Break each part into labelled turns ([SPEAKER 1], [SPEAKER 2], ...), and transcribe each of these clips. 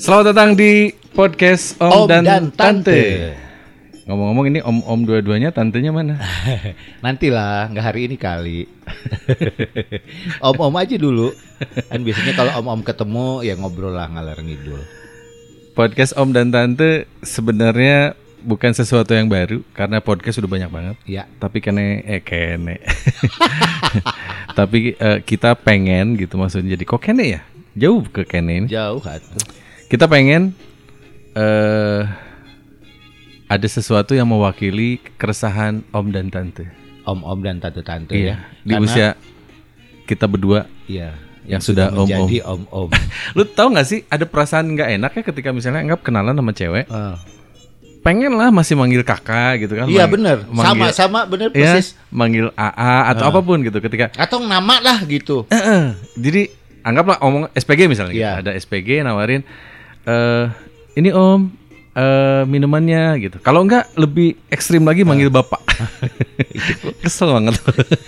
[SPEAKER 1] Selamat datang di podcast Om,
[SPEAKER 2] Om
[SPEAKER 1] dan,
[SPEAKER 2] dan
[SPEAKER 1] Tante.
[SPEAKER 2] Tante.
[SPEAKER 1] Ngomong-ngomong ini om-om dua-duanya, tantenya mana?
[SPEAKER 2] Nantilah, nggak hari ini kali. Om-om aja dulu. Kan biasanya kalau om-om ketemu ya ngobrol lah ngalor ngidul.
[SPEAKER 1] Podcast Om dan Tante sebenarnya bukan sesuatu yang baru karena podcast sudah banyak banget.
[SPEAKER 2] Ya,
[SPEAKER 1] Tapi kene eh kene. Tapi eh, kita pengen gitu maksudnya. Jadi kok kene ya? Jauh ke kene ini.
[SPEAKER 2] jauh atuh.
[SPEAKER 1] Kita pengen eh ada sesuatu yang mewakili keresahan Om dan Tante.
[SPEAKER 2] Om-om dan tante-tante ya.
[SPEAKER 1] Iya, Di
[SPEAKER 2] Karena-
[SPEAKER 1] usia kita berdua
[SPEAKER 2] Iya,
[SPEAKER 1] yang sudah om-om.
[SPEAKER 2] menjadi om-om.
[SPEAKER 1] Lu tau gak sih ada perasaan nggak enak ya ketika misalnya anggap kenalan sama cewek
[SPEAKER 2] Eh,
[SPEAKER 1] Pengen lah masih manggil kakak gitu Ah, kan
[SPEAKER 2] Iya
[SPEAKER 1] mang-
[SPEAKER 2] bener,
[SPEAKER 1] manggil,
[SPEAKER 2] sama-sama bener
[SPEAKER 1] ya,
[SPEAKER 2] persis. Ah.
[SPEAKER 1] Manggil AA atau apapun gitu ketika
[SPEAKER 2] Atau nama lah gitu.
[SPEAKER 1] "Eh, eh." Jadi anggaplah omong SPG misalnya gitu.
[SPEAKER 2] Iya.
[SPEAKER 1] Ada SPG nawarin eh Ini om eh minumannya gitu Kalau enggak lebih ekstrim lagi manggil
[SPEAKER 2] Ah.
[SPEAKER 1] bapak Kesel banget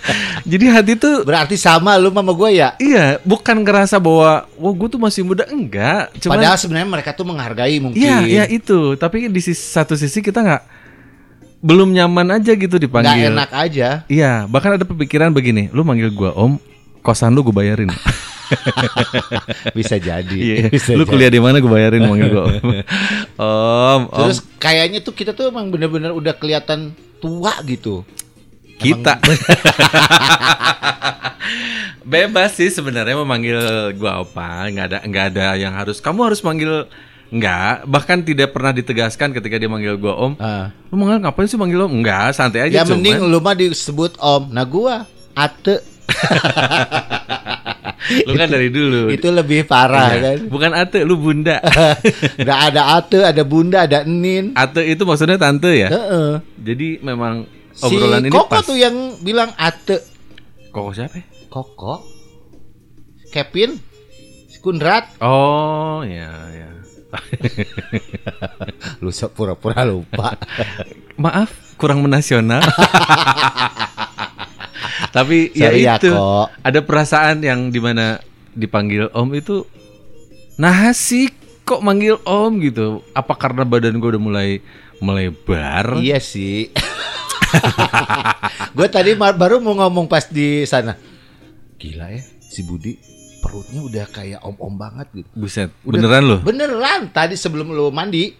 [SPEAKER 1] Jadi hati tuh
[SPEAKER 2] Berarti sama lu sama gue ya.
[SPEAKER 1] Iya, bukan ngerasa bahwa, wah gue tuh masih muda, enggak. Cuman
[SPEAKER 2] Padahal sebenarnya mereka tuh menghargai mungkin.
[SPEAKER 1] Iya, iya itu. Tapi di sisi, satu sisi kita nggak belum nyaman aja gitu
[SPEAKER 2] Nggak
[SPEAKER 1] dipanggil.
[SPEAKER 2] enak aja.
[SPEAKER 1] Iya, bahkan ada pemikiran begini, lu manggil gua Om, kosan lu gue bayarin.
[SPEAKER 2] Bisa jadi.
[SPEAKER 1] Iya,
[SPEAKER 2] Bisa
[SPEAKER 1] lu
[SPEAKER 2] jadi.
[SPEAKER 1] kuliah di mana gue bayarin manggil gua Om. om, om.
[SPEAKER 2] Terus kayaknya tuh kita tuh emang bener-bener udah kelihatan tua gitu.
[SPEAKER 1] kita. Bebas sih sebenarnya memanggil gua Opa, nggak ada nggak ada yang harus kamu harus manggil Enggak, bahkan tidak pernah ditegaskan ketika dia manggil gua Om.
[SPEAKER 2] Ah.
[SPEAKER 1] Lu manggil ngapain sih manggil Om? Enggak, santai aja
[SPEAKER 2] ya
[SPEAKER 1] cuman.
[SPEAKER 2] mending lu mah disebut om. Nah gua ate
[SPEAKER 1] lu kan dari dulu.
[SPEAKER 2] itu lebih parah
[SPEAKER 1] Iya.
[SPEAKER 2] kan.
[SPEAKER 1] Bukan ate, lu bunda.
[SPEAKER 2] Nggak ada ate, ada bunda, ada enin.
[SPEAKER 1] ate itu maksudnya tante ya.
[SPEAKER 2] Heeh.
[SPEAKER 1] Jadi memang
[SPEAKER 2] Si
[SPEAKER 1] obrolan ini
[SPEAKER 2] Koko
[SPEAKER 1] pas.
[SPEAKER 2] tuh ya? yang bilang ate.
[SPEAKER 1] Koko siapa? ya?
[SPEAKER 2] Koko. Kevin. Si Kundrat.
[SPEAKER 1] Oh,
[SPEAKER 2] iya,
[SPEAKER 1] ya ya.
[SPEAKER 2] Lu se- pura-pura lupa.
[SPEAKER 1] Maaf, kurang menasional. Tapi
[SPEAKER 2] Sorry
[SPEAKER 1] ya
[SPEAKER 2] ya,
[SPEAKER 1] itu
[SPEAKER 2] Kok.
[SPEAKER 1] ada perasaan yang dimana dipanggil om itu nah sih kok manggil om gitu apa karena badan gue udah mulai melebar
[SPEAKER 2] Iya sih. gue tadi ma- baru mau ngomong pas di sana. Gila ya, si Budi perutnya udah kayak om-om banget gitu.
[SPEAKER 1] buset
[SPEAKER 2] Udah-
[SPEAKER 1] beneran loh
[SPEAKER 2] Beneran tadi sebelum lu mandi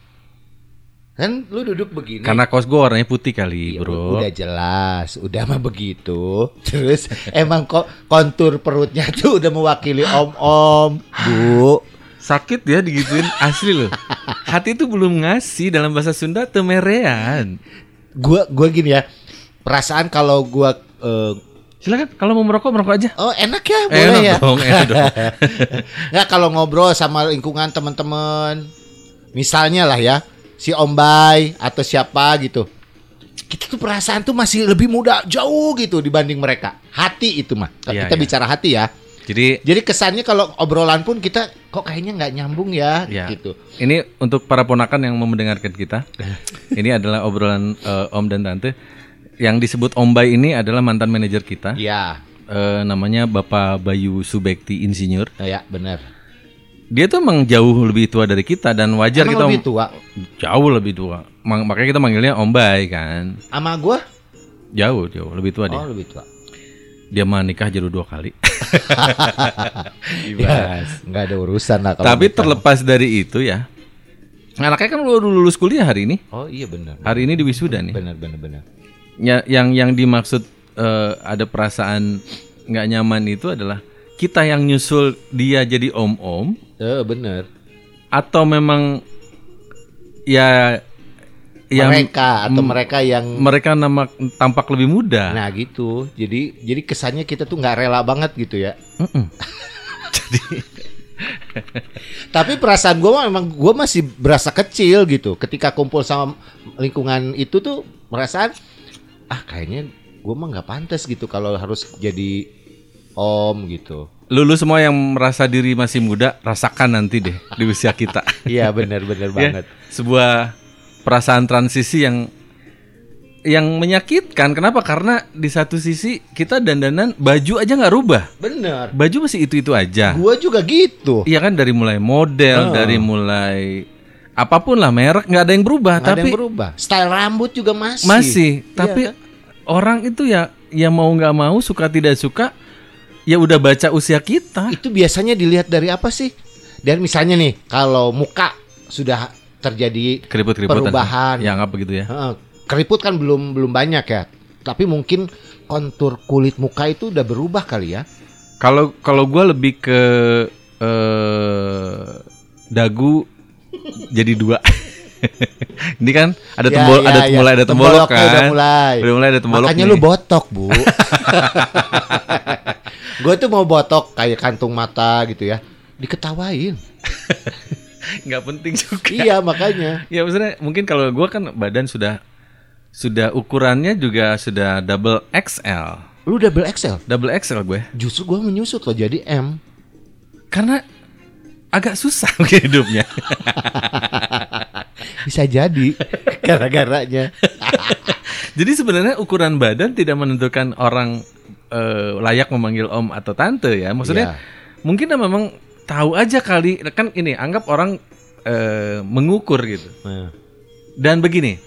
[SPEAKER 2] kan lu duduk begini.
[SPEAKER 1] karena kaos gue warnanya putih kali
[SPEAKER 2] Ya,
[SPEAKER 1] bro
[SPEAKER 2] Udah jelas, udah mah begitu. Terus emang kok kontur perutnya tuh udah mewakili om-om, Bu.
[SPEAKER 1] sakit ya digituin asli loh hati itu belum ngasih dalam bahasa Sunda temerean
[SPEAKER 2] Gua gua gini ya. Perasaan kalau gua eh,
[SPEAKER 1] silakan kalau mau merokok merokok aja
[SPEAKER 2] oh enak ya,
[SPEAKER 1] Eh,
[SPEAKER 2] boleh
[SPEAKER 1] enak
[SPEAKER 2] ya.
[SPEAKER 1] dong, enak dong.
[SPEAKER 2] Nggak kalau ngobrol sama lingkungan teman-teman, misalnya lah ya, si Om Bay atau siapa gitu. Kita tuh perasaan tuh masih lebih muda jauh gitu dibanding mereka. Hati itu mah.
[SPEAKER 1] Iya,
[SPEAKER 2] kita
[SPEAKER 1] iya.
[SPEAKER 2] bicara hati ya.
[SPEAKER 1] jadi
[SPEAKER 2] Jadi kesannya kalau obrolan pun kita kok kayaknya nggak nyambung ya
[SPEAKER 1] Iya.
[SPEAKER 2] gitu.
[SPEAKER 1] Ini untuk para ponakan yang mau mendengarkan kita. ini adalah obrolan eh, Om dan Tante. Yang disebut Om Bay ini adalah mantan manajer kita.
[SPEAKER 2] Iya,
[SPEAKER 1] Eh, namanya Bapak Bayu Subekti Insinyur.
[SPEAKER 2] ya benar.
[SPEAKER 1] Dia tuh emang jauh lebih tua dari kita dan wajar
[SPEAKER 2] Emang
[SPEAKER 1] kita
[SPEAKER 2] lebih tua.
[SPEAKER 1] jauh lebih tua. Mang- makanya kita manggilnya Om Bay kan.
[SPEAKER 2] Sama gua?
[SPEAKER 1] Jauh, jauh lebih tua
[SPEAKER 2] Oh,
[SPEAKER 1] dia.
[SPEAKER 2] lebih tua.
[SPEAKER 1] Dia mah nikah jadi dua kali.
[SPEAKER 2] Ya, nggak ada urusan lah kalau
[SPEAKER 1] Iya. Tapi
[SPEAKER 2] nikah.
[SPEAKER 1] terlepas dari itu ya. Anaknya kan udah lulus kuliah hari ini.
[SPEAKER 2] Oh, iya benar.
[SPEAKER 1] Hari ini di wisuda nih.
[SPEAKER 2] Benar benar benar.
[SPEAKER 1] Ya- yang yang dimaksud eh, ada perasaan nggak nyaman itu adalah kita yang nyusul dia jadi om-om
[SPEAKER 2] Eh, benar.
[SPEAKER 1] atau memang ya yang
[SPEAKER 2] mereka atau mereka yang
[SPEAKER 1] mereka nama tampak lebih muda.
[SPEAKER 2] Nah gitu, jadi jadi kesannya kita tuh nggak rela banget gitu ya.
[SPEAKER 1] Mm-mm.
[SPEAKER 2] Tapi perasaan gue memang gue masih berasa kecil gitu. Ketika kumpul sama lingkungan itu tuh merasaan ah kayaknya gue mah nggak pantas gitu kalau harus jadi om gitu.
[SPEAKER 1] Lulu semua yang merasa diri masih muda rasakan nanti deh di usia kita.
[SPEAKER 2] Iya benar-benar
[SPEAKER 1] Ya,
[SPEAKER 2] banget.
[SPEAKER 1] Sebuah perasaan transisi yang yang menyakitkan. Kenapa? Karena di satu sisi kita dandanan baju aja nggak rubah.
[SPEAKER 2] Bener.
[SPEAKER 1] Baju masih itu-itu aja.
[SPEAKER 2] Gua juga gitu.
[SPEAKER 1] Iya kan dari mulai model,
[SPEAKER 2] Oh.
[SPEAKER 1] dari mulai apapun lah merek nggak ada yang berubah,
[SPEAKER 2] Nggak ada
[SPEAKER 1] Nah, tapi
[SPEAKER 2] yang berubah. Style rambut juga masih.
[SPEAKER 1] masih.
[SPEAKER 2] Iya
[SPEAKER 1] Tapi
[SPEAKER 2] kan?
[SPEAKER 1] orang itu ya ya mau nggak mau suka tidak suka ya udah baca usia kita.
[SPEAKER 2] Itu biasanya dilihat dari apa sih? Dan misalnya nih, kalau muka sudah terjadi
[SPEAKER 1] Keriput-keriputan.
[SPEAKER 2] Perubahan.
[SPEAKER 1] Ya nggak begitu ya.
[SPEAKER 2] eh, keriput kan belum belum banyak ya. Tapi mungkin kontur kulit muka itu udah berubah kali ya.
[SPEAKER 1] Kalau kalau gua lebih ke eh dagu jadi dua. Ini kan ada
[SPEAKER 2] Ya,
[SPEAKER 1] tembol,
[SPEAKER 2] ya,
[SPEAKER 1] ada
[SPEAKER 2] ya.
[SPEAKER 1] mulai ada tembolok
[SPEAKER 2] Temboloknya
[SPEAKER 1] kan.
[SPEAKER 2] Udah mulai.
[SPEAKER 1] Udah mulai ada tembolok.
[SPEAKER 2] Makanya
[SPEAKER 1] nih.
[SPEAKER 2] lu botok, Bu. gue tuh mau botok kayak kantung mata gitu ya. Diketawain.
[SPEAKER 1] nggak penting juga.
[SPEAKER 2] iya, makanya.
[SPEAKER 1] Ya maksudnya mungkin kalau gua kan badan sudah sudah ukurannya juga sudah double XL,
[SPEAKER 2] Lu double XL.
[SPEAKER 1] double XL gue.
[SPEAKER 2] Justru gue menyusut loh jadi M.
[SPEAKER 1] Karena agak susah mungkin hidupnya.
[SPEAKER 2] Bisa jadi gara-garanya.
[SPEAKER 1] Jadi sebenarnya ukuran badan tidak menentukan orang eh, layak memanggil om atau tante ya. Maksudnya
[SPEAKER 2] Iya.
[SPEAKER 1] mungkin memang tahu aja kali kan ini anggap orang eh, mengukur gitu.
[SPEAKER 2] Nah,
[SPEAKER 1] Dan begini,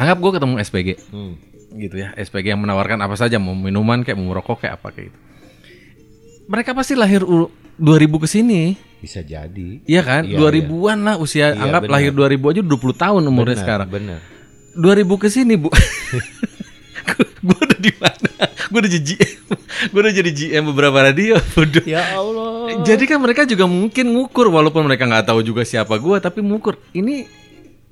[SPEAKER 1] anggap gue ketemu SPG.
[SPEAKER 2] Hmm.
[SPEAKER 1] gitu ya SPG yang menawarkan apa saja mau minuman kayak mau merokok kayak apa kayak gitu mereka pasti lahir u- 2000 ke sini
[SPEAKER 2] Bisa jadi.
[SPEAKER 1] iya kan
[SPEAKER 2] Iya,
[SPEAKER 1] 2000-an lah usia
[SPEAKER 2] Iya,
[SPEAKER 1] anggap
[SPEAKER 2] benar.
[SPEAKER 1] lahir 2000 aja 20 tahun umurnya sekarang
[SPEAKER 2] Bener.
[SPEAKER 1] 2000 ke sini Bu gue udah di mana gue udah jadi gue udah jadi GM beberapa radio bodoh
[SPEAKER 2] Ya Allah.
[SPEAKER 1] jadi kan mereka juga mungkin ngukur walaupun mereka nggak tahu juga siapa gue tapi ngukur ini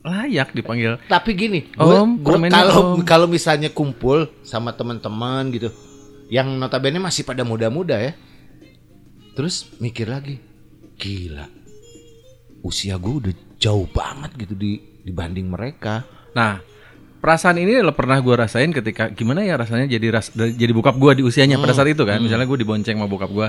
[SPEAKER 1] layak dipanggil
[SPEAKER 2] Tapi gini, gua-
[SPEAKER 1] Om, Oh,
[SPEAKER 2] gua-
[SPEAKER 1] komennya
[SPEAKER 2] kalau
[SPEAKER 1] Om.
[SPEAKER 2] kalau misalnya kumpul sama teman-teman gitu, yang notabene masih pada muda-muda ya, terus mikir lagi, gila, usia gue udah jauh banget gitu di dibanding mereka.
[SPEAKER 1] Nah, perasaan ini adalah pernah gue rasain ketika gimana ya rasanya jadi ras, da- jadi bokap gue di usianya pada saat itu kan. Misalnya gue dibonceng sama bokap gue.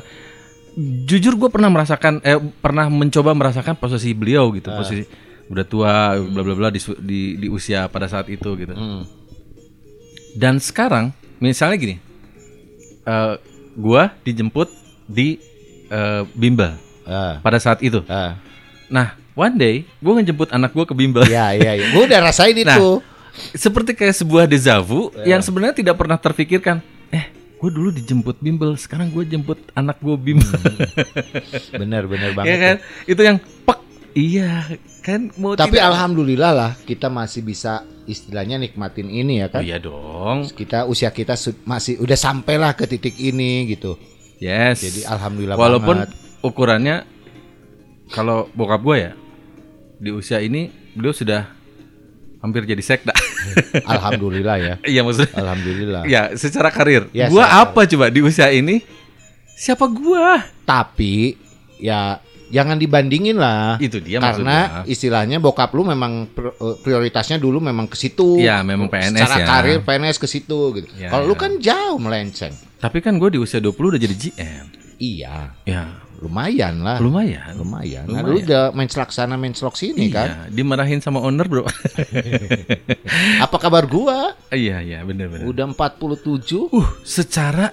[SPEAKER 1] Jujur gue pernah merasakan eh pernah mencoba merasakan posisi beliau gitu, posisi udah tua bla bla bla di, su- di di usia pada saat itu gitu. Dan sekarang misalnya gini. eh gua dijemput di eh, bimbel
[SPEAKER 2] Ah,
[SPEAKER 1] pada saat itu.
[SPEAKER 2] ah.
[SPEAKER 1] Nah, one day gue ngejemput anak gue ke bimbel.
[SPEAKER 2] ya, ya, ya. Gue udah rasain
[SPEAKER 1] Nah,
[SPEAKER 2] itu.
[SPEAKER 1] seperti kayak sebuah dejavu
[SPEAKER 2] Iya.
[SPEAKER 1] yang sebenarnya tidak pernah terfikirkan. Eh, gue dulu dijemput bimbel, sekarang gue jemput anak gue bimbel.
[SPEAKER 2] Bener, bener Hmm, banget.
[SPEAKER 1] ya kan? Itu yang pek. Iya, kan mau
[SPEAKER 2] Tapi
[SPEAKER 1] tidak-
[SPEAKER 2] alhamdulillah lah kita masih bisa istilahnya nikmatin ini
[SPEAKER 1] Oh,
[SPEAKER 2] ya kan.
[SPEAKER 1] iya dong.
[SPEAKER 2] Kita usia kita su- masih udah sampailah ke titik ini gitu.
[SPEAKER 1] Yes.
[SPEAKER 2] Jadi alhamdulillah
[SPEAKER 1] Walaupun
[SPEAKER 2] banget.
[SPEAKER 1] ukurannya kalau bokap gue ya di usia ini beliau sudah hampir jadi sekda.
[SPEAKER 2] Alhamdulillah ya.
[SPEAKER 1] Iya maksudnya.
[SPEAKER 2] Alhamdulillah.
[SPEAKER 1] Ya, secara karir.
[SPEAKER 2] Ya,
[SPEAKER 1] gua
[SPEAKER 2] Ah. secara
[SPEAKER 1] apa coba di usia ini? Siapa gua?
[SPEAKER 2] Tapi ya jangan dibandingin lah.
[SPEAKER 1] Itu dia Iya, maksudnya.
[SPEAKER 2] Karena istilahnya bokap lu memang pri- eh, prioritasnya dulu memang ke situ.
[SPEAKER 1] Iya, memang PNS
[SPEAKER 2] Secara
[SPEAKER 1] ya.
[SPEAKER 2] karir PNS ke situ gitu.
[SPEAKER 1] Iya,
[SPEAKER 2] Kalau lu
[SPEAKER 1] iya.
[SPEAKER 2] kan jauh melenceng.
[SPEAKER 1] Tapi kan gue di usia 20 udah jadi GM.
[SPEAKER 2] Iya,
[SPEAKER 1] Ya,
[SPEAKER 2] lumayan lah.
[SPEAKER 1] lumayan.
[SPEAKER 2] Lumayan. Nah,
[SPEAKER 1] Lumayan.
[SPEAKER 2] lu udah main selak sana main selok sini kan.
[SPEAKER 1] Iya, dimarahin sama owner, Bro.
[SPEAKER 2] Apa kabar gua?
[SPEAKER 1] iya, iya, benar-benar.
[SPEAKER 2] Udah 47.
[SPEAKER 1] Uh, secara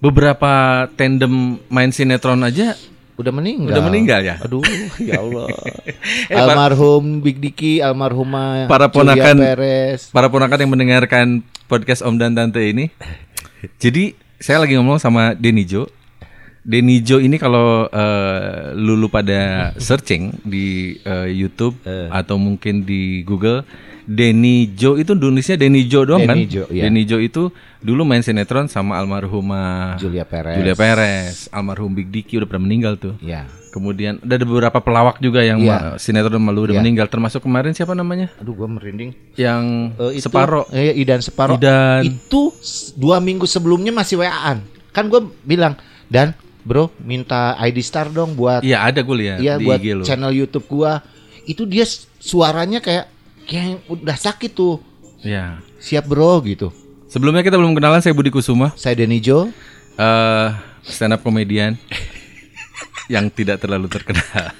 [SPEAKER 1] beberapa tandem main sinetron aja
[SPEAKER 2] Udah meninggal.
[SPEAKER 1] udah meninggal ya.
[SPEAKER 2] Aduh, ya Allah.
[SPEAKER 1] Eh, Pak-
[SPEAKER 2] almarhum Big Diki, almarhumah
[SPEAKER 1] Para
[SPEAKER 2] Julia
[SPEAKER 1] ponakan-
[SPEAKER 2] Perez.
[SPEAKER 1] Para ponakan yang mendengarkan podcast Om dan Tante ini. Jadi, saya lagi ngomong sama Denny Jo. Denny Jo ini kalau eh, lulu pada searching di eh, YouTube atau mungkin di Google, Denny Jo itu nulisnya Denny Jo doang
[SPEAKER 2] Denny
[SPEAKER 1] kan?
[SPEAKER 2] Jo, iya.
[SPEAKER 1] Denny Jo itu dulu main sinetron sama almarhumah
[SPEAKER 2] Julia Perez.
[SPEAKER 1] Julia Perez, almarhum Big Dicky udah pernah meninggal tuh.
[SPEAKER 2] Ya.
[SPEAKER 1] Kemudian ada beberapa pelawak juga yang
[SPEAKER 2] Iya.
[SPEAKER 1] ma- sinetron malu udah meninggal, termasuk kemarin siapa namanya?
[SPEAKER 2] Aduh, gua merinding.
[SPEAKER 1] Yang
[SPEAKER 2] Eh, itu,
[SPEAKER 1] Separo.
[SPEAKER 2] eh, Idan Separo.
[SPEAKER 1] Dan
[SPEAKER 2] Itu s- dua minggu sebelumnya masih WA-an. Kan gue bilang, dan bro minta ID Star dong buat
[SPEAKER 1] iya ada gue lihat
[SPEAKER 2] iya
[SPEAKER 1] di
[SPEAKER 2] buat
[SPEAKER 1] IG lo.
[SPEAKER 2] channel YouTube gua. Itu dia s- suaranya kayak kayak yang udah sakit tuh.
[SPEAKER 1] Iya.
[SPEAKER 2] Siap bro gitu.
[SPEAKER 1] Sebelumnya kita belum kenalan saya Budi Kusuma,
[SPEAKER 2] Saya Denny Jo.
[SPEAKER 1] eh stand up komedian yang tidak terlalu terkenal.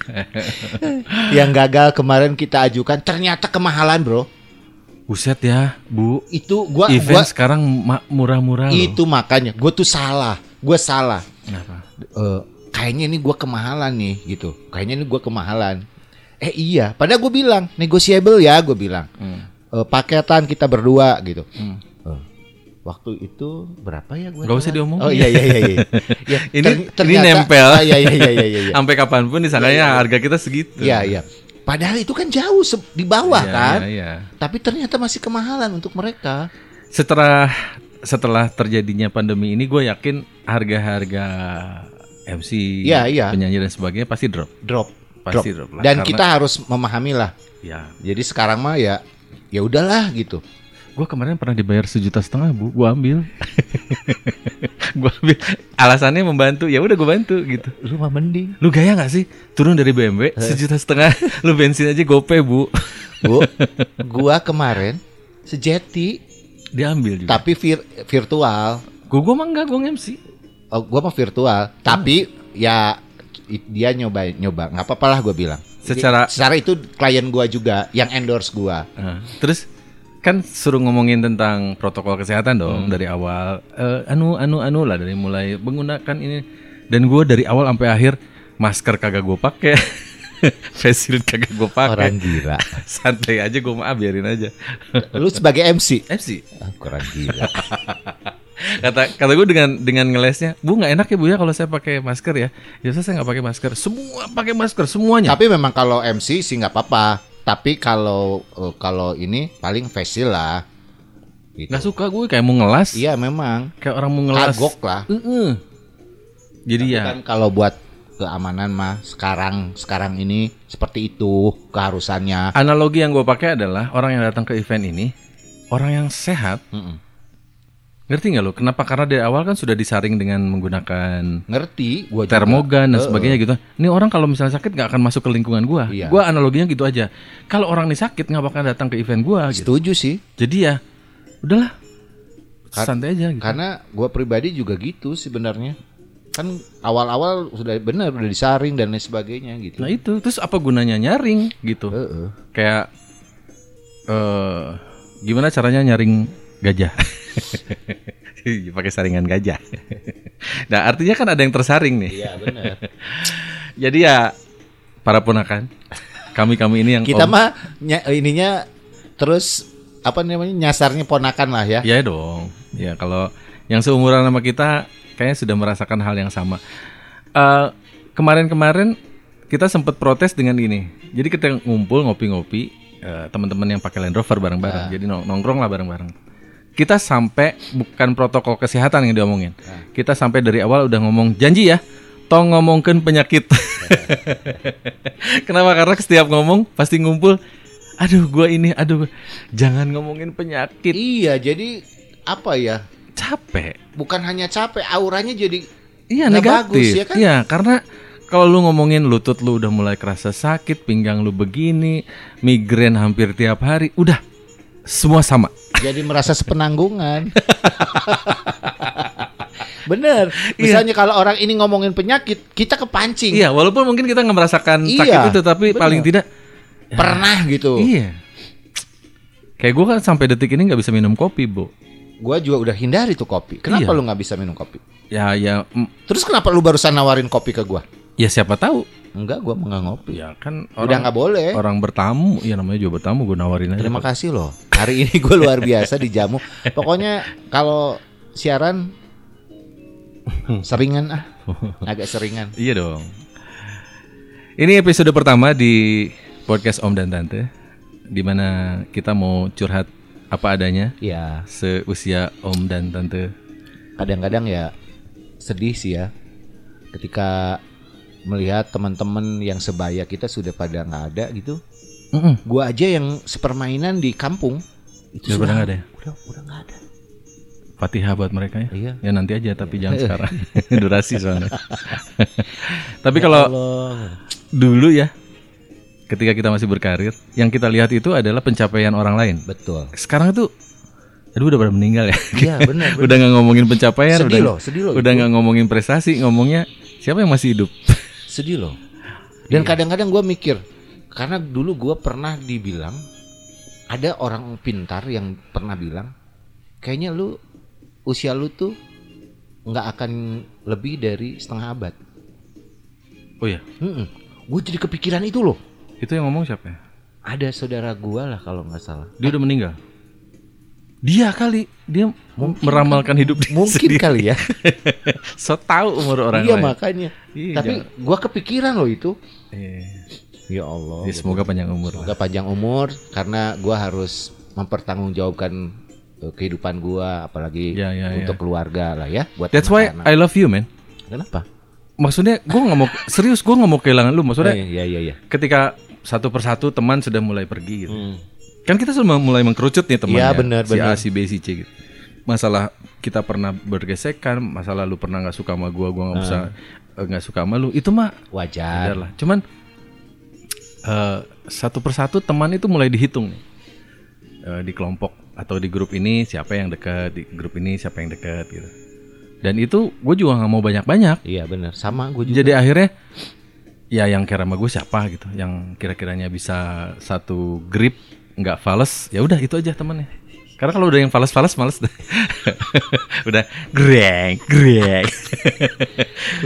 [SPEAKER 2] yang gagal kemarin kita ajukan ternyata kemahalan bro.
[SPEAKER 1] Buset ya, Bu.
[SPEAKER 2] Itu gua
[SPEAKER 1] Event
[SPEAKER 2] gua
[SPEAKER 1] sekarang ma- murah-murah loh.
[SPEAKER 2] itu makanya gua tuh salah. Gua salah.
[SPEAKER 1] Kenapa?
[SPEAKER 2] Eh, kayaknya ini gua kemahalan nih gitu. Kayaknya ini gua kemahalan. Eh iya, padahal gue bilang negotiable ya, gue bilang
[SPEAKER 1] Hmm.
[SPEAKER 2] Eh, paketan kita berdua gitu.
[SPEAKER 1] Hmm.
[SPEAKER 2] Eh, waktu itu berapa ya gue?
[SPEAKER 1] Nggak usah diomongin.
[SPEAKER 2] Oh iya iya iya. iya. Ya,
[SPEAKER 1] Ini-
[SPEAKER 2] ter-
[SPEAKER 1] ini nempel.
[SPEAKER 2] Ah, Iya iya iya iya. iya.
[SPEAKER 1] Sampai kapanpun disangkanya harga kita segitu.
[SPEAKER 2] Iya iya. Padahal itu kan jauh se- di bawah
[SPEAKER 1] Iya,
[SPEAKER 2] kan.
[SPEAKER 1] iya, iya.
[SPEAKER 2] Tapi ternyata masih kemahalan untuk mereka.
[SPEAKER 1] Setelah setelah terjadinya pandemi ini gue yakin harga-harga MC,
[SPEAKER 2] Iya, iya.
[SPEAKER 1] penyanyi dan sebagainya pasti drop,
[SPEAKER 2] Drop.
[SPEAKER 1] pasti drop, lah.
[SPEAKER 2] Dan
[SPEAKER 1] Karena-
[SPEAKER 2] kita harus memahami lah.
[SPEAKER 1] ya.
[SPEAKER 2] Jadi sekarang mah ya ya udahlah gitu.
[SPEAKER 1] Gue kemarin pernah dibayar sejuta setengah bu, gue ambil, gue ambil. Alasannya membantu, ya udah gue bantu gitu.
[SPEAKER 2] Lu mah mending.
[SPEAKER 1] Lu gaya nggak sih turun dari BMW sejuta setengah, lu bensin aja gope bu,
[SPEAKER 2] Bu, gua kemarin sejati
[SPEAKER 1] diambil juga.
[SPEAKER 2] tapi vir- virtual.
[SPEAKER 1] Gue gue mah enggak, gue MC.
[SPEAKER 2] Oh, gua mah virtual, tapi ya i- dia nyoba nyoba nggak apa-apa lah gue bilang
[SPEAKER 1] Secara-
[SPEAKER 2] secara itu klien gua juga yang endorse gua
[SPEAKER 1] Nah, terus kan suruh ngomongin tentang protokol kesehatan dong dari awal Eh, anu anu anu lah dari mulai menggunakan ini dan gue dari awal sampai akhir masker kagak gue pakai face shield kagak gue pakai
[SPEAKER 2] orang gila
[SPEAKER 1] santai aja gue mah biarin aja
[SPEAKER 2] lu sebagai MC
[SPEAKER 1] MC
[SPEAKER 2] ah, kurang gila
[SPEAKER 1] kata kata gue dengan dengan ngelesnya bu nggak enak ya bu ya kalau saya pakai masker ya ya saya- saya nggak pakai masker semua pakai masker semuanya
[SPEAKER 2] Tapi memang kalau MC sih nggak apa-apa. Tapi kalau eh, kalau ini paling facial lah. Gitu.
[SPEAKER 1] nggak suka gue kayak mau ngelas
[SPEAKER 2] Iya memang
[SPEAKER 1] kayak orang mau Nah, ngelas
[SPEAKER 2] kagok lah.
[SPEAKER 1] Heeh. jadi ya
[SPEAKER 2] Kan kalau buat keamanan mah sekarang sekarang ini seperti itu keharusannya.
[SPEAKER 1] Analogi yang gue pakai adalah orang yang datang ke event ini orang yang sehat,
[SPEAKER 2] Mm-mm.
[SPEAKER 1] ngerti nggak lo? Kenapa? Karena dari awal kan sudah disaring dengan menggunakan
[SPEAKER 2] Ngerti? Gua juga.
[SPEAKER 1] termogan dan
[SPEAKER 2] Eh,
[SPEAKER 1] sebagainya gitu. Ini orang kalau misalnya sakit nggak akan masuk ke lingkungan gue.
[SPEAKER 2] Iya.
[SPEAKER 1] Gue analoginya gitu aja. Kalau orang ini sakit nggak bakal datang ke event gue. Gitu.
[SPEAKER 2] Setuju sih.
[SPEAKER 1] Jadi ya udahlah
[SPEAKER 2] Kar-
[SPEAKER 1] santai aja. Gitu.
[SPEAKER 2] Karena gua pribadi juga gitu sebenarnya. Kan awal-awal sudah benar udah disaring dan lain sebagainya gitu.
[SPEAKER 1] Nah itu terus apa gunanya nyaring gitu?
[SPEAKER 2] Eh, eh.
[SPEAKER 1] Kayak eh gimana caranya nyaring gajah? Pakai saringan gajah. nah artinya kan ada yang tersaring nih.
[SPEAKER 2] Iya benar.
[SPEAKER 1] Jadi ya para ponakan kami kami ini yang
[SPEAKER 2] Kita
[SPEAKER 1] om-
[SPEAKER 2] mah nya- ininya terus apa namanya nyasarnya ponakan lah ya.
[SPEAKER 1] ya dong. Ya kalau yang seumuran sama kita kayaknya sudah merasakan hal yang sama. Eh, Kemarin-kemarin kita sempat protes dengan ini. Jadi kita ngumpul ngopi-ngopi eh, teman-teman yang pakai Land Rover bareng-bareng. Jadi nong- nongkrong lah bareng-bareng. Kita sampai bukan protokol kesehatan yang diomongin. Kita sampai dari awal udah ngomong janji ya. Tong ngomongkan penyakit. Kenapa? Karena setiap ngomong pasti ngumpul. Aduh, gua ini, aduh, jangan ngomongin penyakit.
[SPEAKER 2] Iya, jadi apa ya?
[SPEAKER 1] capek.
[SPEAKER 2] Bukan hanya capek, auranya jadi
[SPEAKER 1] Iya
[SPEAKER 2] Nggak
[SPEAKER 1] negatif.
[SPEAKER 2] bagus, ya kan?
[SPEAKER 1] Iya karena kalau lu ngomongin lutut lu udah mulai kerasa sakit, pinggang lu begini, migrain hampir tiap hari, udah semua sama.
[SPEAKER 2] jadi merasa sepenanggungan. Bener. Misalnya kalau orang ini ngomongin penyakit, kita kepancing.
[SPEAKER 1] Iya walaupun mungkin kita nggak merasakan
[SPEAKER 2] Iya,
[SPEAKER 1] sakit itu, tapi
[SPEAKER 2] bener.
[SPEAKER 1] paling tidak
[SPEAKER 2] Pernah gitu.
[SPEAKER 1] iya. Kayak gue kan sampai detik ini nggak bisa minum kopi, bu.
[SPEAKER 2] Gua juga udah hindari tuh kopi. Kenapa
[SPEAKER 1] Iya.
[SPEAKER 2] lu nggak bisa minum kopi?
[SPEAKER 1] Ya ya mm,
[SPEAKER 2] Terus kenapa lu barusan nawarin kopi ke gua?
[SPEAKER 1] ya siapa tahu.
[SPEAKER 2] Enggak, gua mau nggak ngopi.
[SPEAKER 1] Ya kan
[SPEAKER 2] udah
[SPEAKER 1] orang
[SPEAKER 2] nggak boleh.
[SPEAKER 1] orang bertamu, ya namanya juga bertamu, gue nawarin aja.
[SPEAKER 2] Terima kasih loh. Hari ini gue luar biasa dijamu. Pokoknya kalau siaran
[SPEAKER 1] Hmm.
[SPEAKER 2] seringan ah, agak seringan.
[SPEAKER 1] Iya dong. Ini episode pertama di podcast Om dan Tante, di mana kita mau curhat apa adanya
[SPEAKER 2] Ya,
[SPEAKER 1] seusia Om dan Tante.
[SPEAKER 2] kadang-kadang ya sedih sih ya ketika melihat teman-teman yang sebaya kita sudah pada nggak ada gitu.
[SPEAKER 1] Mm-mm.
[SPEAKER 2] Gua aja yang sepermainan di kampung itu
[SPEAKER 1] Udah pada nggak ada ya?
[SPEAKER 2] Udah udah nggak ada.
[SPEAKER 1] Fatihah buat mereka ya.
[SPEAKER 2] Iya.
[SPEAKER 1] Ya nanti aja, tapi jangan sekarang. Durasi soalnya. tapi kalau dulu ya, ketika kita masih berkarir, yang kita lihat itu adalah pencapaian orang lain.
[SPEAKER 2] Betul.
[SPEAKER 1] Sekarang tuh, aduh udah pada meninggal ya.
[SPEAKER 2] Iya benar. benar.
[SPEAKER 1] udah nggak ngomongin pencapaian,
[SPEAKER 2] Sedih
[SPEAKER 1] udah
[SPEAKER 2] loh, sedih loh.
[SPEAKER 1] udah nggak ngomongin prestasi ngomongnya siapa yang masih hidup
[SPEAKER 2] sedih loh Iya. dan kadang-kadang gue mikir karena dulu gue pernah dibilang ada orang pintar yang pernah bilang kayaknya lu usia lu tuh nggak akan lebih dari setengah abad.
[SPEAKER 1] Oh iya,
[SPEAKER 2] Gue jadi kepikiran itu loh.
[SPEAKER 1] itu yang ngomong siapa ya?
[SPEAKER 2] Ada saudara gua lah kalau nggak salah.
[SPEAKER 1] Dia udah meninggal. Dia kali dia
[SPEAKER 2] Mungkin-
[SPEAKER 1] meramalkan hidup dia
[SPEAKER 2] Mungkin
[SPEAKER 1] sendiri.
[SPEAKER 2] kali ya.
[SPEAKER 1] So tahu umur orang
[SPEAKER 2] iya
[SPEAKER 1] lain.
[SPEAKER 2] makanya.
[SPEAKER 1] Iya,
[SPEAKER 2] Tapi
[SPEAKER 1] jangan-
[SPEAKER 2] gua kepikiran loh itu.
[SPEAKER 1] Iya.
[SPEAKER 2] Ya Allah.
[SPEAKER 1] Ya, semoga panjang umur. lah.
[SPEAKER 2] Semoga panjang umur karena gua harus mempertanggungjawabkan eh, kehidupan gua apalagi
[SPEAKER 1] Ya, ya,
[SPEAKER 2] untuk
[SPEAKER 1] ya.
[SPEAKER 2] keluarga lah ya buat
[SPEAKER 1] That's why
[SPEAKER 2] anak-anak.
[SPEAKER 1] I love you, man.
[SPEAKER 2] Kenapa?
[SPEAKER 1] Maksudnya gue nggak mau serius gue nggak mau kehilangan lu. Maksudnya
[SPEAKER 2] Eh, ya ya ya.
[SPEAKER 1] ketika satu persatu teman sudah mulai pergi gitu.
[SPEAKER 2] Hmm.
[SPEAKER 1] Kan kita sudah mulai mengkerucut nih teman
[SPEAKER 2] Iya,
[SPEAKER 1] ya.
[SPEAKER 2] benar,
[SPEAKER 1] si
[SPEAKER 2] benar.
[SPEAKER 1] A, si B, si C gitu. Masalah kita pernah bergesekan, masalah lu pernah nggak suka sama gua, gua
[SPEAKER 2] Nah.
[SPEAKER 1] nggak bisa eh, nggak suka sama lu. Itu mah
[SPEAKER 2] Wajar.
[SPEAKER 1] Wajar lah. Cuman eh, satu persatu teman itu mulai dihitung nih. Eh, di kelompok atau di grup ini siapa yang dekat, di grup ini siapa yang dekat gitu. Dan itu gue juga nggak mau banyak-banyak.
[SPEAKER 2] Iya benar. Sama gua juga.
[SPEAKER 1] Jadi akhirnya ya yang kira sama gue siapa gitu, yang kira-kiranya bisa satu grip nggak fales, ya udah itu aja temannya. Karena kalau udah yang fales-fales males deh. udah greng greng.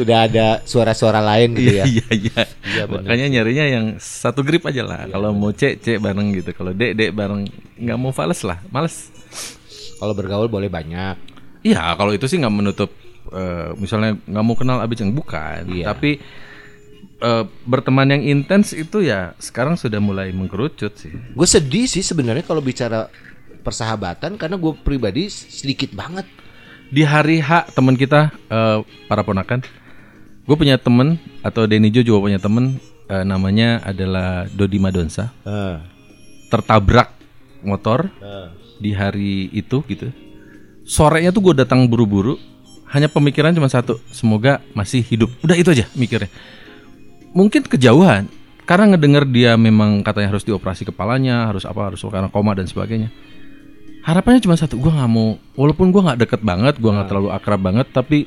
[SPEAKER 2] Udah ada suara-suara lain gitu ya.
[SPEAKER 1] Iya iya.
[SPEAKER 2] Iya, bener. Iya,
[SPEAKER 1] Makanya nyarinya yang satu grip aja lah. kalau mau C C bareng gitu. Kalau D D bareng nggak mau fales lah, males.
[SPEAKER 2] Kalau bergaul boleh banyak.
[SPEAKER 1] Iya, kalau itu sih nggak menutup. eh, misalnya nggak mau kenal abis yang bukan.
[SPEAKER 2] Iya.
[SPEAKER 1] Tapi eh, berteman yang intens itu ya sekarang sudah mulai mengkerucut sih.
[SPEAKER 2] Gue sedih sih sebenarnya kalau bicara persahabatan karena gue pribadi sedikit banget.
[SPEAKER 1] Di hari H teman kita eh, para ponakan, gue punya temen atau Denijo juga punya temen eh, namanya adalah Dodi Madonsa tertabrak motor
[SPEAKER 2] Eh,
[SPEAKER 1] di hari itu gitu. Sorenya tuh gue datang buru-buru, hanya pemikiran cuma satu, semoga masih hidup. Udah itu aja mikirnya. Mungkin kejauhan, karena ngedengar dia memang katanya harus dioperasi kepalanya, harus apa, harus karena koma dan sebagainya. Harapannya cuma satu, gue nggak mau, walaupun gue nggak deket banget, gue nggak terlalu akrab banget, tapi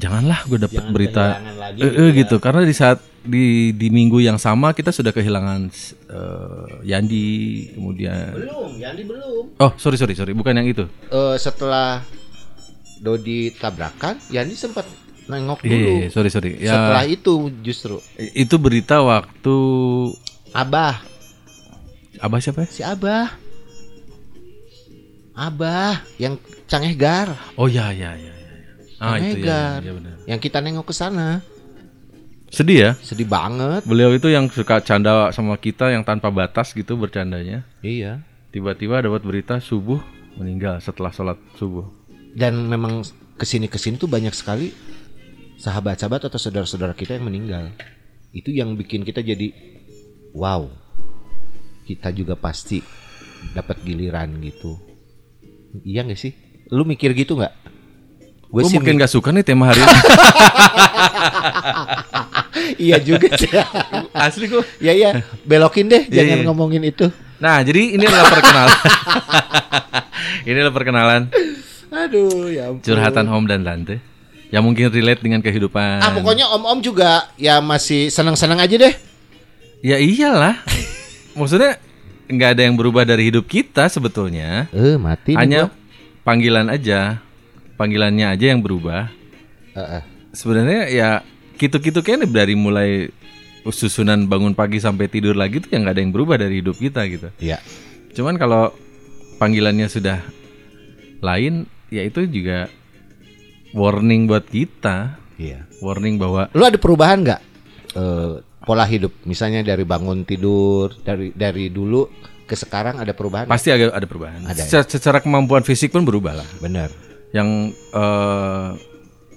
[SPEAKER 1] janganlah gue dapet
[SPEAKER 2] Jangan ya.
[SPEAKER 1] berita
[SPEAKER 2] kehilangan lagi
[SPEAKER 1] eh, eh, gitu, karena di saat di di minggu yang sama kita sudah kehilangan eh, Yandi, kemudian
[SPEAKER 2] Belum, Yandi belum.
[SPEAKER 1] Oh, sorry sorry sorry, bukan yang itu.
[SPEAKER 2] Eh, setelah Dodi tabrakan, Yandi sempat nengok
[SPEAKER 1] Iya, iya,
[SPEAKER 2] dulu.
[SPEAKER 1] iya, sorry sorry. Ya,
[SPEAKER 2] Setelah itu justru
[SPEAKER 1] itu berita waktu
[SPEAKER 2] Abah,
[SPEAKER 1] Abah siapa ya?
[SPEAKER 2] si Abah. Abah yang Cangegar,
[SPEAKER 1] Oh ya ya ya. ya. Ah, itu ya,
[SPEAKER 2] Omegar.
[SPEAKER 1] ya, benar.
[SPEAKER 2] yang kita nengok ke sana.
[SPEAKER 1] Sedih ya.
[SPEAKER 2] Sedih banget.
[SPEAKER 1] Beliau itu yang suka canda sama kita yang tanpa batas gitu bercandanya.
[SPEAKER 2] Iya.
[SPEAKER 1] Tiba-tiba dapat berita subuh meninggal setelah sholat subuh.
[SPEAKER 2] dan memang kesini kesini tuh banyak sekali sahabat-sahabat atau saudara-saudara kita yang meninggal itu yang bikin kita jadi wow kita juga pasti dapat giliran gitu iya nggak sih lu mikir gitu nggak gue
[SPEAKER 1] Gue
[SPEAKER 2] sih
[SPEAKER 1] mungkin
[SPEAKER 2] mik-
[SPEAKER 1] gak suka nih tema hari ini.
[SPEAKER 2] iya juga sih
[SPEAKER 1] Asli gue.
[SPEAKER 2] ya ya belokin deh
[SPEAKER 1] Iya,
[SPEAKER 2] jangan
[SPEAKER 1] iya.
[SPEAKER 2] ngomongin itu
[SPEAKER 1] Nah, jadi ini adalah perkenalan. ini adalah perkenalan
[SPEAKER 2] aduh ya ampun.
[SPEAKER 1] curhatan home dan tante yang mungkin relate dengan kehidupan.
[SPEAKER 2] ah pokoknya om-om juga ya masih senang-senang aja deh
[SPEAKER 1] Ya iyalah. Maksudnya nggak ada yang berubah dari hidup kita sebetulnya.
[SPEAKER 2] eh mati nih
[SPEAKER 1] Hanya
[SPEAKER 2] gua.
[SPEAKER 1] panggilan aja, panggilannya aja yang berubah.
[SPEAKER 2] Eh, eh.
[SPEAKER 1] Sebenarnya ya gitu-gitu kayaknya dari mulai susunan bangun pagi sampai tidur lagi tuh yang nggak ada yang berubah dari hidup kita gitu.
[SPEAKER 2] Iya.
[SPEAKER 1] Cuman kalau panggilannya sudah lain, ya itu juga warning buat kita,
[SPEAKER 2] iya
[SPEAKER 1] warning bahwa
[SPEAKER 2] Lu ada perubahan nggak Eh, pola hidup? Misalnya dari bangun tidur dari dari dulu ke sekarang ada perubahan?
[SPEAKER 1] pasti agak ada perubahan.
[SPEAKER 2] Ada, ya.
[SPEAKER 1] Secara- secara kemampuan fisik pun berubah lah.
[SPEAKER 2] Bener.
[SPEAKER 1] yang eh,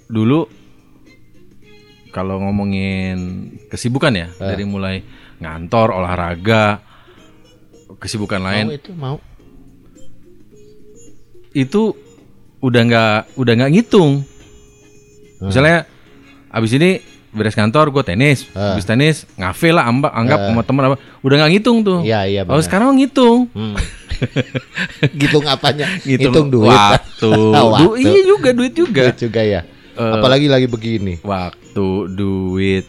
[SPEAKER 1] dulu kalau ngomongin kesibukan ya
[SPEAKER 2] Ah.
[SPEAKER 1] dari mulai ngantor olahraga kesibukan lain
[SPEAKER 2] Mau itu mau.
[SPEAKER 1] itu udah nggak udah nggak ngitung
[SPEAKER 2] Ah.
[SPEAKER 1] misalnya abis ini beres kantor gue tenis
[SPEAKER 2] Ah.
[SPEAKER 1] abis tenis ngafe lah amba, anggap sama teman apa udah nggak ngitung tuh
[SPEAKER 2] Iya iya
[SPEAKER 1] kalau
[SPEAKER 2] bener.
[SPEAKER 1] Oh, sekarang ngitung
[SPEAKER 2] Hmm. Hitung apanya?
[SPEAKER 1] ngitung,
[SPEAKER 2] Hitung duit.
[SPEAKER 1] waktu,
[SPEAKER 2] Waktu.
[SPEAKER 1] Du- iya juga duit juga
[SPEAKER 2] Duit juga ya.
[SPEAKER 1] Eh,
[SPEAKER 2] Apalagi lagi begini.
[SPEAKER 1] waktu, duit,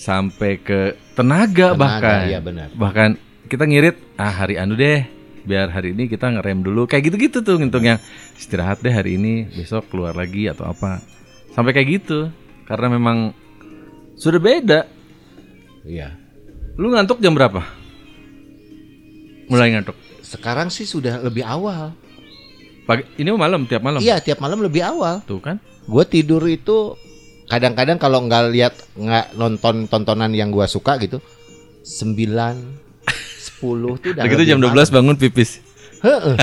[SPEAKER 1] sampai ke tenaga, bahkan
[SPEAKER 2] Iya benar.
[SPEAKER 1] bahkan kita ngirit ah hari anu deh biar hari ini kita ngerem dulu kayak gitu-gitu tuh ngitung yang istirahat deh hari ini besok keluar lagi atau apa sampai kayak gitu karena memang sudah beda
[SPEAKER 2] Iya.
[SPEAKER 1] lu ngantuk jam berapa mulai ngantuk
[SPEAKER 2] Sekarang sih sudah lebih awal.
[SPEAKER 1] pagi ini malam tiap malam
[SPEAKER 2] Iya, tiap malam lebih awal.
[SPEAKER 1] tuh kan
[SPEAKER 2] Gue tidur itu kadang-kadang kalau nggak lihat nggak nonton tontonan yang gua suka gitu, 9 10 tuh
[SPEAKER 1] Udah
[SPEAKER 2] udah.
[SPEAKER 1] gitu
[SPEAKER 2] lebih
[SPEAKER 1] jam
[SPEAKER 2] malam.
[SPEAKER 1] 12 bangun pipis
[SPEAKER 2] Heeh.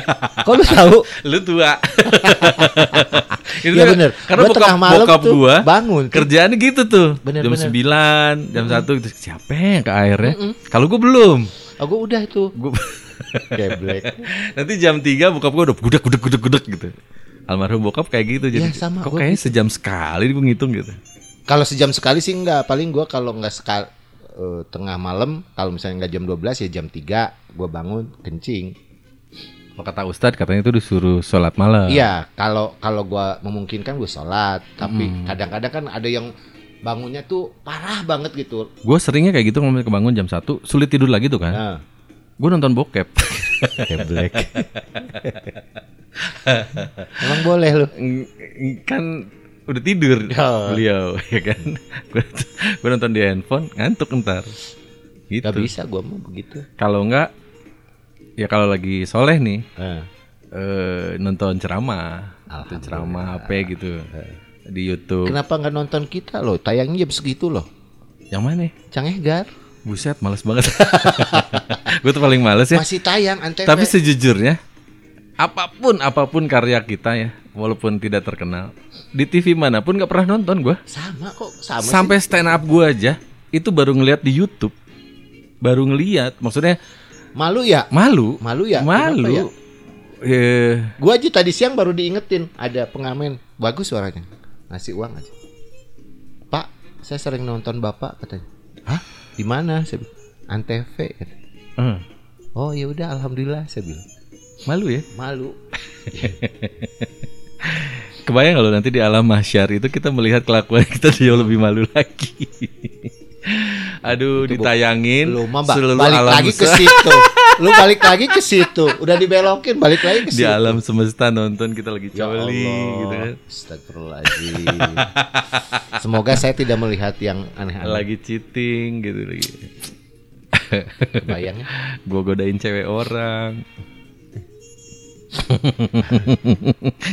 [SPEAKER 2] Kok lu tahu?
[SPEAKER 1] lu tua Itu
[SPEAKER 2] Iya
[SPEAKER 1] kan-
[SPEAKER 2] bener.
[SPEAKER 1] karena
[SPEAKER 2] Gua
[SPEAKER 1] bokap,
[SPEAKER 2] tengah malam
[SPEAKER 1] bokap
[SPEAKER 2] tuh
[SPEAKER 1] gua
[SPEAKER 2] bangun.
[SPEAKER 1] kerjaannya gitu tuh
[SPEAKER 2] Bener,
[SPEAKER 1] jam
[SPEAKER 2] bener.
[SPEAKER 1] 9 jam 1 gitu siapa yang ke airnya
[SPEAKER 2] Mm-mm.
[SPEAKER 1] kalau gua belum
[SPEAKER 2] Oh, gua udah itu.
[SPEAKER 1] Gua-
[SPEAKER 2] Geblek.
[SPEAKER 1] nanti jam 3 bokap gua udah gudeg gudeg gudeg gudeg gitu almarhum bokap kayak gitu jadi
[SPEAKER 2] Iya, sama,
[SPEAKER 1] kok
[SPEAKER 2] gua
[SPEAKER 1] kayaknya sejam sekali gua ngitung gitu
[SPEAKER 2] Kalau sejam sekali sih enggak, paling gua kalau enggak sekali tengah malam kalau misalnya enggak jam 12 ya jam 3 gua bangun kencing.
[SPEAKER 1] Kalau kata Ustadz katanya itu disuruh sholat malam
[SPEAKER 2] Iya, kalau kalau gua memungkinkan gue sholat, tapi
[SPEAKER 1] Hmm.
[SPEAKER 2] kadang-kadang kan ada yang bangunnya tuh parah banget gitu.
[SPEAKER 1] Gua seringnya kayak gitu ngomongnya kebangun jam 1 sulit tidur lagi tuh kan
[SPEAKER 2] Nah,
[SPEAKER 1] Gua nonton bokep
[SPEAKER 2] geblek. Emang boleh lu.
[SPEAKER 1] Ng- ng- kan udah tidur
[SPEAKER 2] Ya.
[SPEAKER 1] beliau ya kan gue nonton di handphone ngantuk ntar
[SPEAKER 2] Gak
[SPEAKER 1] gitu
[SPEAKER 2] bisa gua mau begitu.
[SPEAKER 1] kalau enggak ya kalau lagi soleh nih
[SPEAKER 2] Nah,
[SPEAKER 1] eh, nonton ceramah nonton
[SPEAKER 2] Alhamdulillah.
[SPEAKER 1] ceramah apa gitu di YouTube
[SPEAKER 2] Kenapa nggak nonton kita loh? Tayangnya jam segitu loh.
[SPEAKER 1] yang mana
[SPEAKER 2] Cang Egar
[SPEAKER 1] buset males banget gue tuh paling males ya
[SPEAKER 2] masih tayang antv.
[SPEAKER 1] tapi sejujurnya apapun apapun karya kita ya walaupun tidak terkenal di TV manapun nggak pernah nonton gue
[SPEAKER 2] sama kok sama. sih.
[SPEAKER 1] sampai stand up gue aja itu baru ngeliat di YouTube baru ngeliat maksudnya
[SPEAKER 2] malu ya.
[SPEAKER 1] malu
[SPEAKER 2] Malu ya? Kenapa ya?
[SPEAKER 1] malu eh
[SPEAKER 2] Gua aja tadi siang baru diingetin ada pengamen bagus suaranya. Ngasih uang aja. Pak, saya sering nonton Bapak katanya. Hah? Di mana? Saya bilang. Antv. kata.
[SPEAKER 1] eh,
[SPEAKER 2] Oh ya udah alhamdulillah saya bilang.
[SPEAKER 1] malu ya
[SPEAKER 2] Malu.
[SPEAKER 1] kebayang kalau nanti di alam mahsyar itu kita melihat kelakuan kita jauh lebih malu lagi aduh
[SPEAKER 2] Itu bu-
[SPEAKER 1] ditayangin
[SPEAKER 2] Lu mah ba-
[SPEAKER 1] seluruh
[SPEAKER 2] balik
[SPEAKER 1] alam
[SPEAKER 2] lagi ke
[SPEAKER 1] se-
[SPEAKER 2] situ. Lu balik lagi ke situ. Udah dibelokin balik lagi ke
[SPEAKER 1] di
[SPEAKER 2] situ.
[SPEAKER 1] alam semesta nonton kita lagi
[SPEAKER 2] Ya Allah.
[SPEAKER 1] coli gitu kan
[SPEAKER 2] Astagfirullahaladzim. Semoga saya tidak melihat yang aneh-aneh.
[SPEAKER 1] lagi cheating gitu lagi
[SPEAKER 2] Bayangnya.
[SPEAKER 1] gua godain cewek orang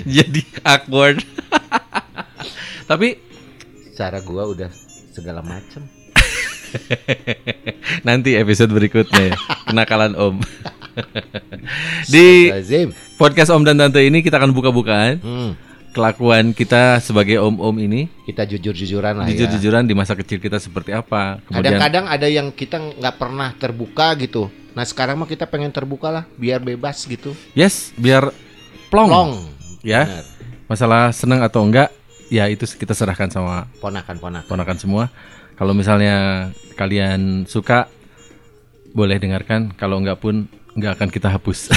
[SPEAKER 1] jadi awkward tapi
[SPEAKER 2] Cara gua udah segala macem.
[SPEAKER 1] nanti episode berikutnya ya, kenakalan om di
[SPEAKER 2] Astagfirullahaladzim.
[SPEAKER 1] podcast om dan tante ini kita akan buka-bukaan
[SPEAKER 2] Hmm.
[SPEAKER 1] kelakuan kita sebagai om-om ini
[SPEAKER 2] kita jujur-jujuran lah ya.
[SPEAKER 1] jujur-jujuran di masa kecil kita seperti apa kemudian
[SPEAKER 2] Kadang-kadang ada yang kita nggak pernah terbuka gitu. Nah sekarang mah kita pengen terbuka lah, biar bebas gitu.
[SPEAKER 1] yes biar plong,
[SPEAKER 2] Long,
[SPEAKER 1] ya
[SPEAKER 2] Benar.
[SPEAKER 1] masalah senang atau enggak ya itu kita serahkan sama
[SPEAKER 2] ponakan-ponakan.
[SPEAKER 1] ponakan semua. Kalau misalnya kalian suka, boleh dengarkan. Kalau enggak pun nggak akan kita hapus.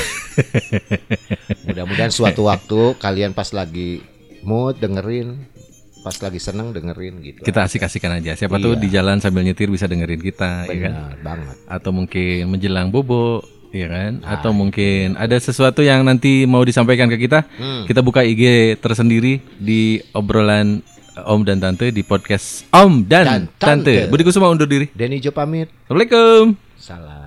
[SPEAKER 2] Mudah-mudahan suatu waktu kalian pas lagi mood dengerin, pas lagi seneng dengerin gitu.
[SPEAKER 1] kita asik-asikan aja. Siapa tuh
[SPEAKER 2] Iya.
[SPEAKER 1] di jalan sambil nyetir bisa dengerin kita, ya kan?
[SPEAKER 2] benar banget.
[SPEAKER 1] Atau mungkin menjelang bobo, ya kan?
[SPEAKER 2] Nah,
[SPEAKER 1] Atau mungkin ada sesuatu yang nanti mau disampaikan ke kita,
[SPEAKER 2] Hmm.
[SPEAKER 1] kita buka IG tersendiri di obrolan eh, Om dan Tante di podcast Om
[SPEAKER 2] Dan
[SPEAKER 1] dan, Tante.
[SPEAKER 2] Tante.
[SPEAKER 1] Budi Kusuma undur diri.
[SPEAKER 2] Denny Jo pamit.
[SPEAKER 1] Assalamualaikum.
[SPEAKER 2] Salam.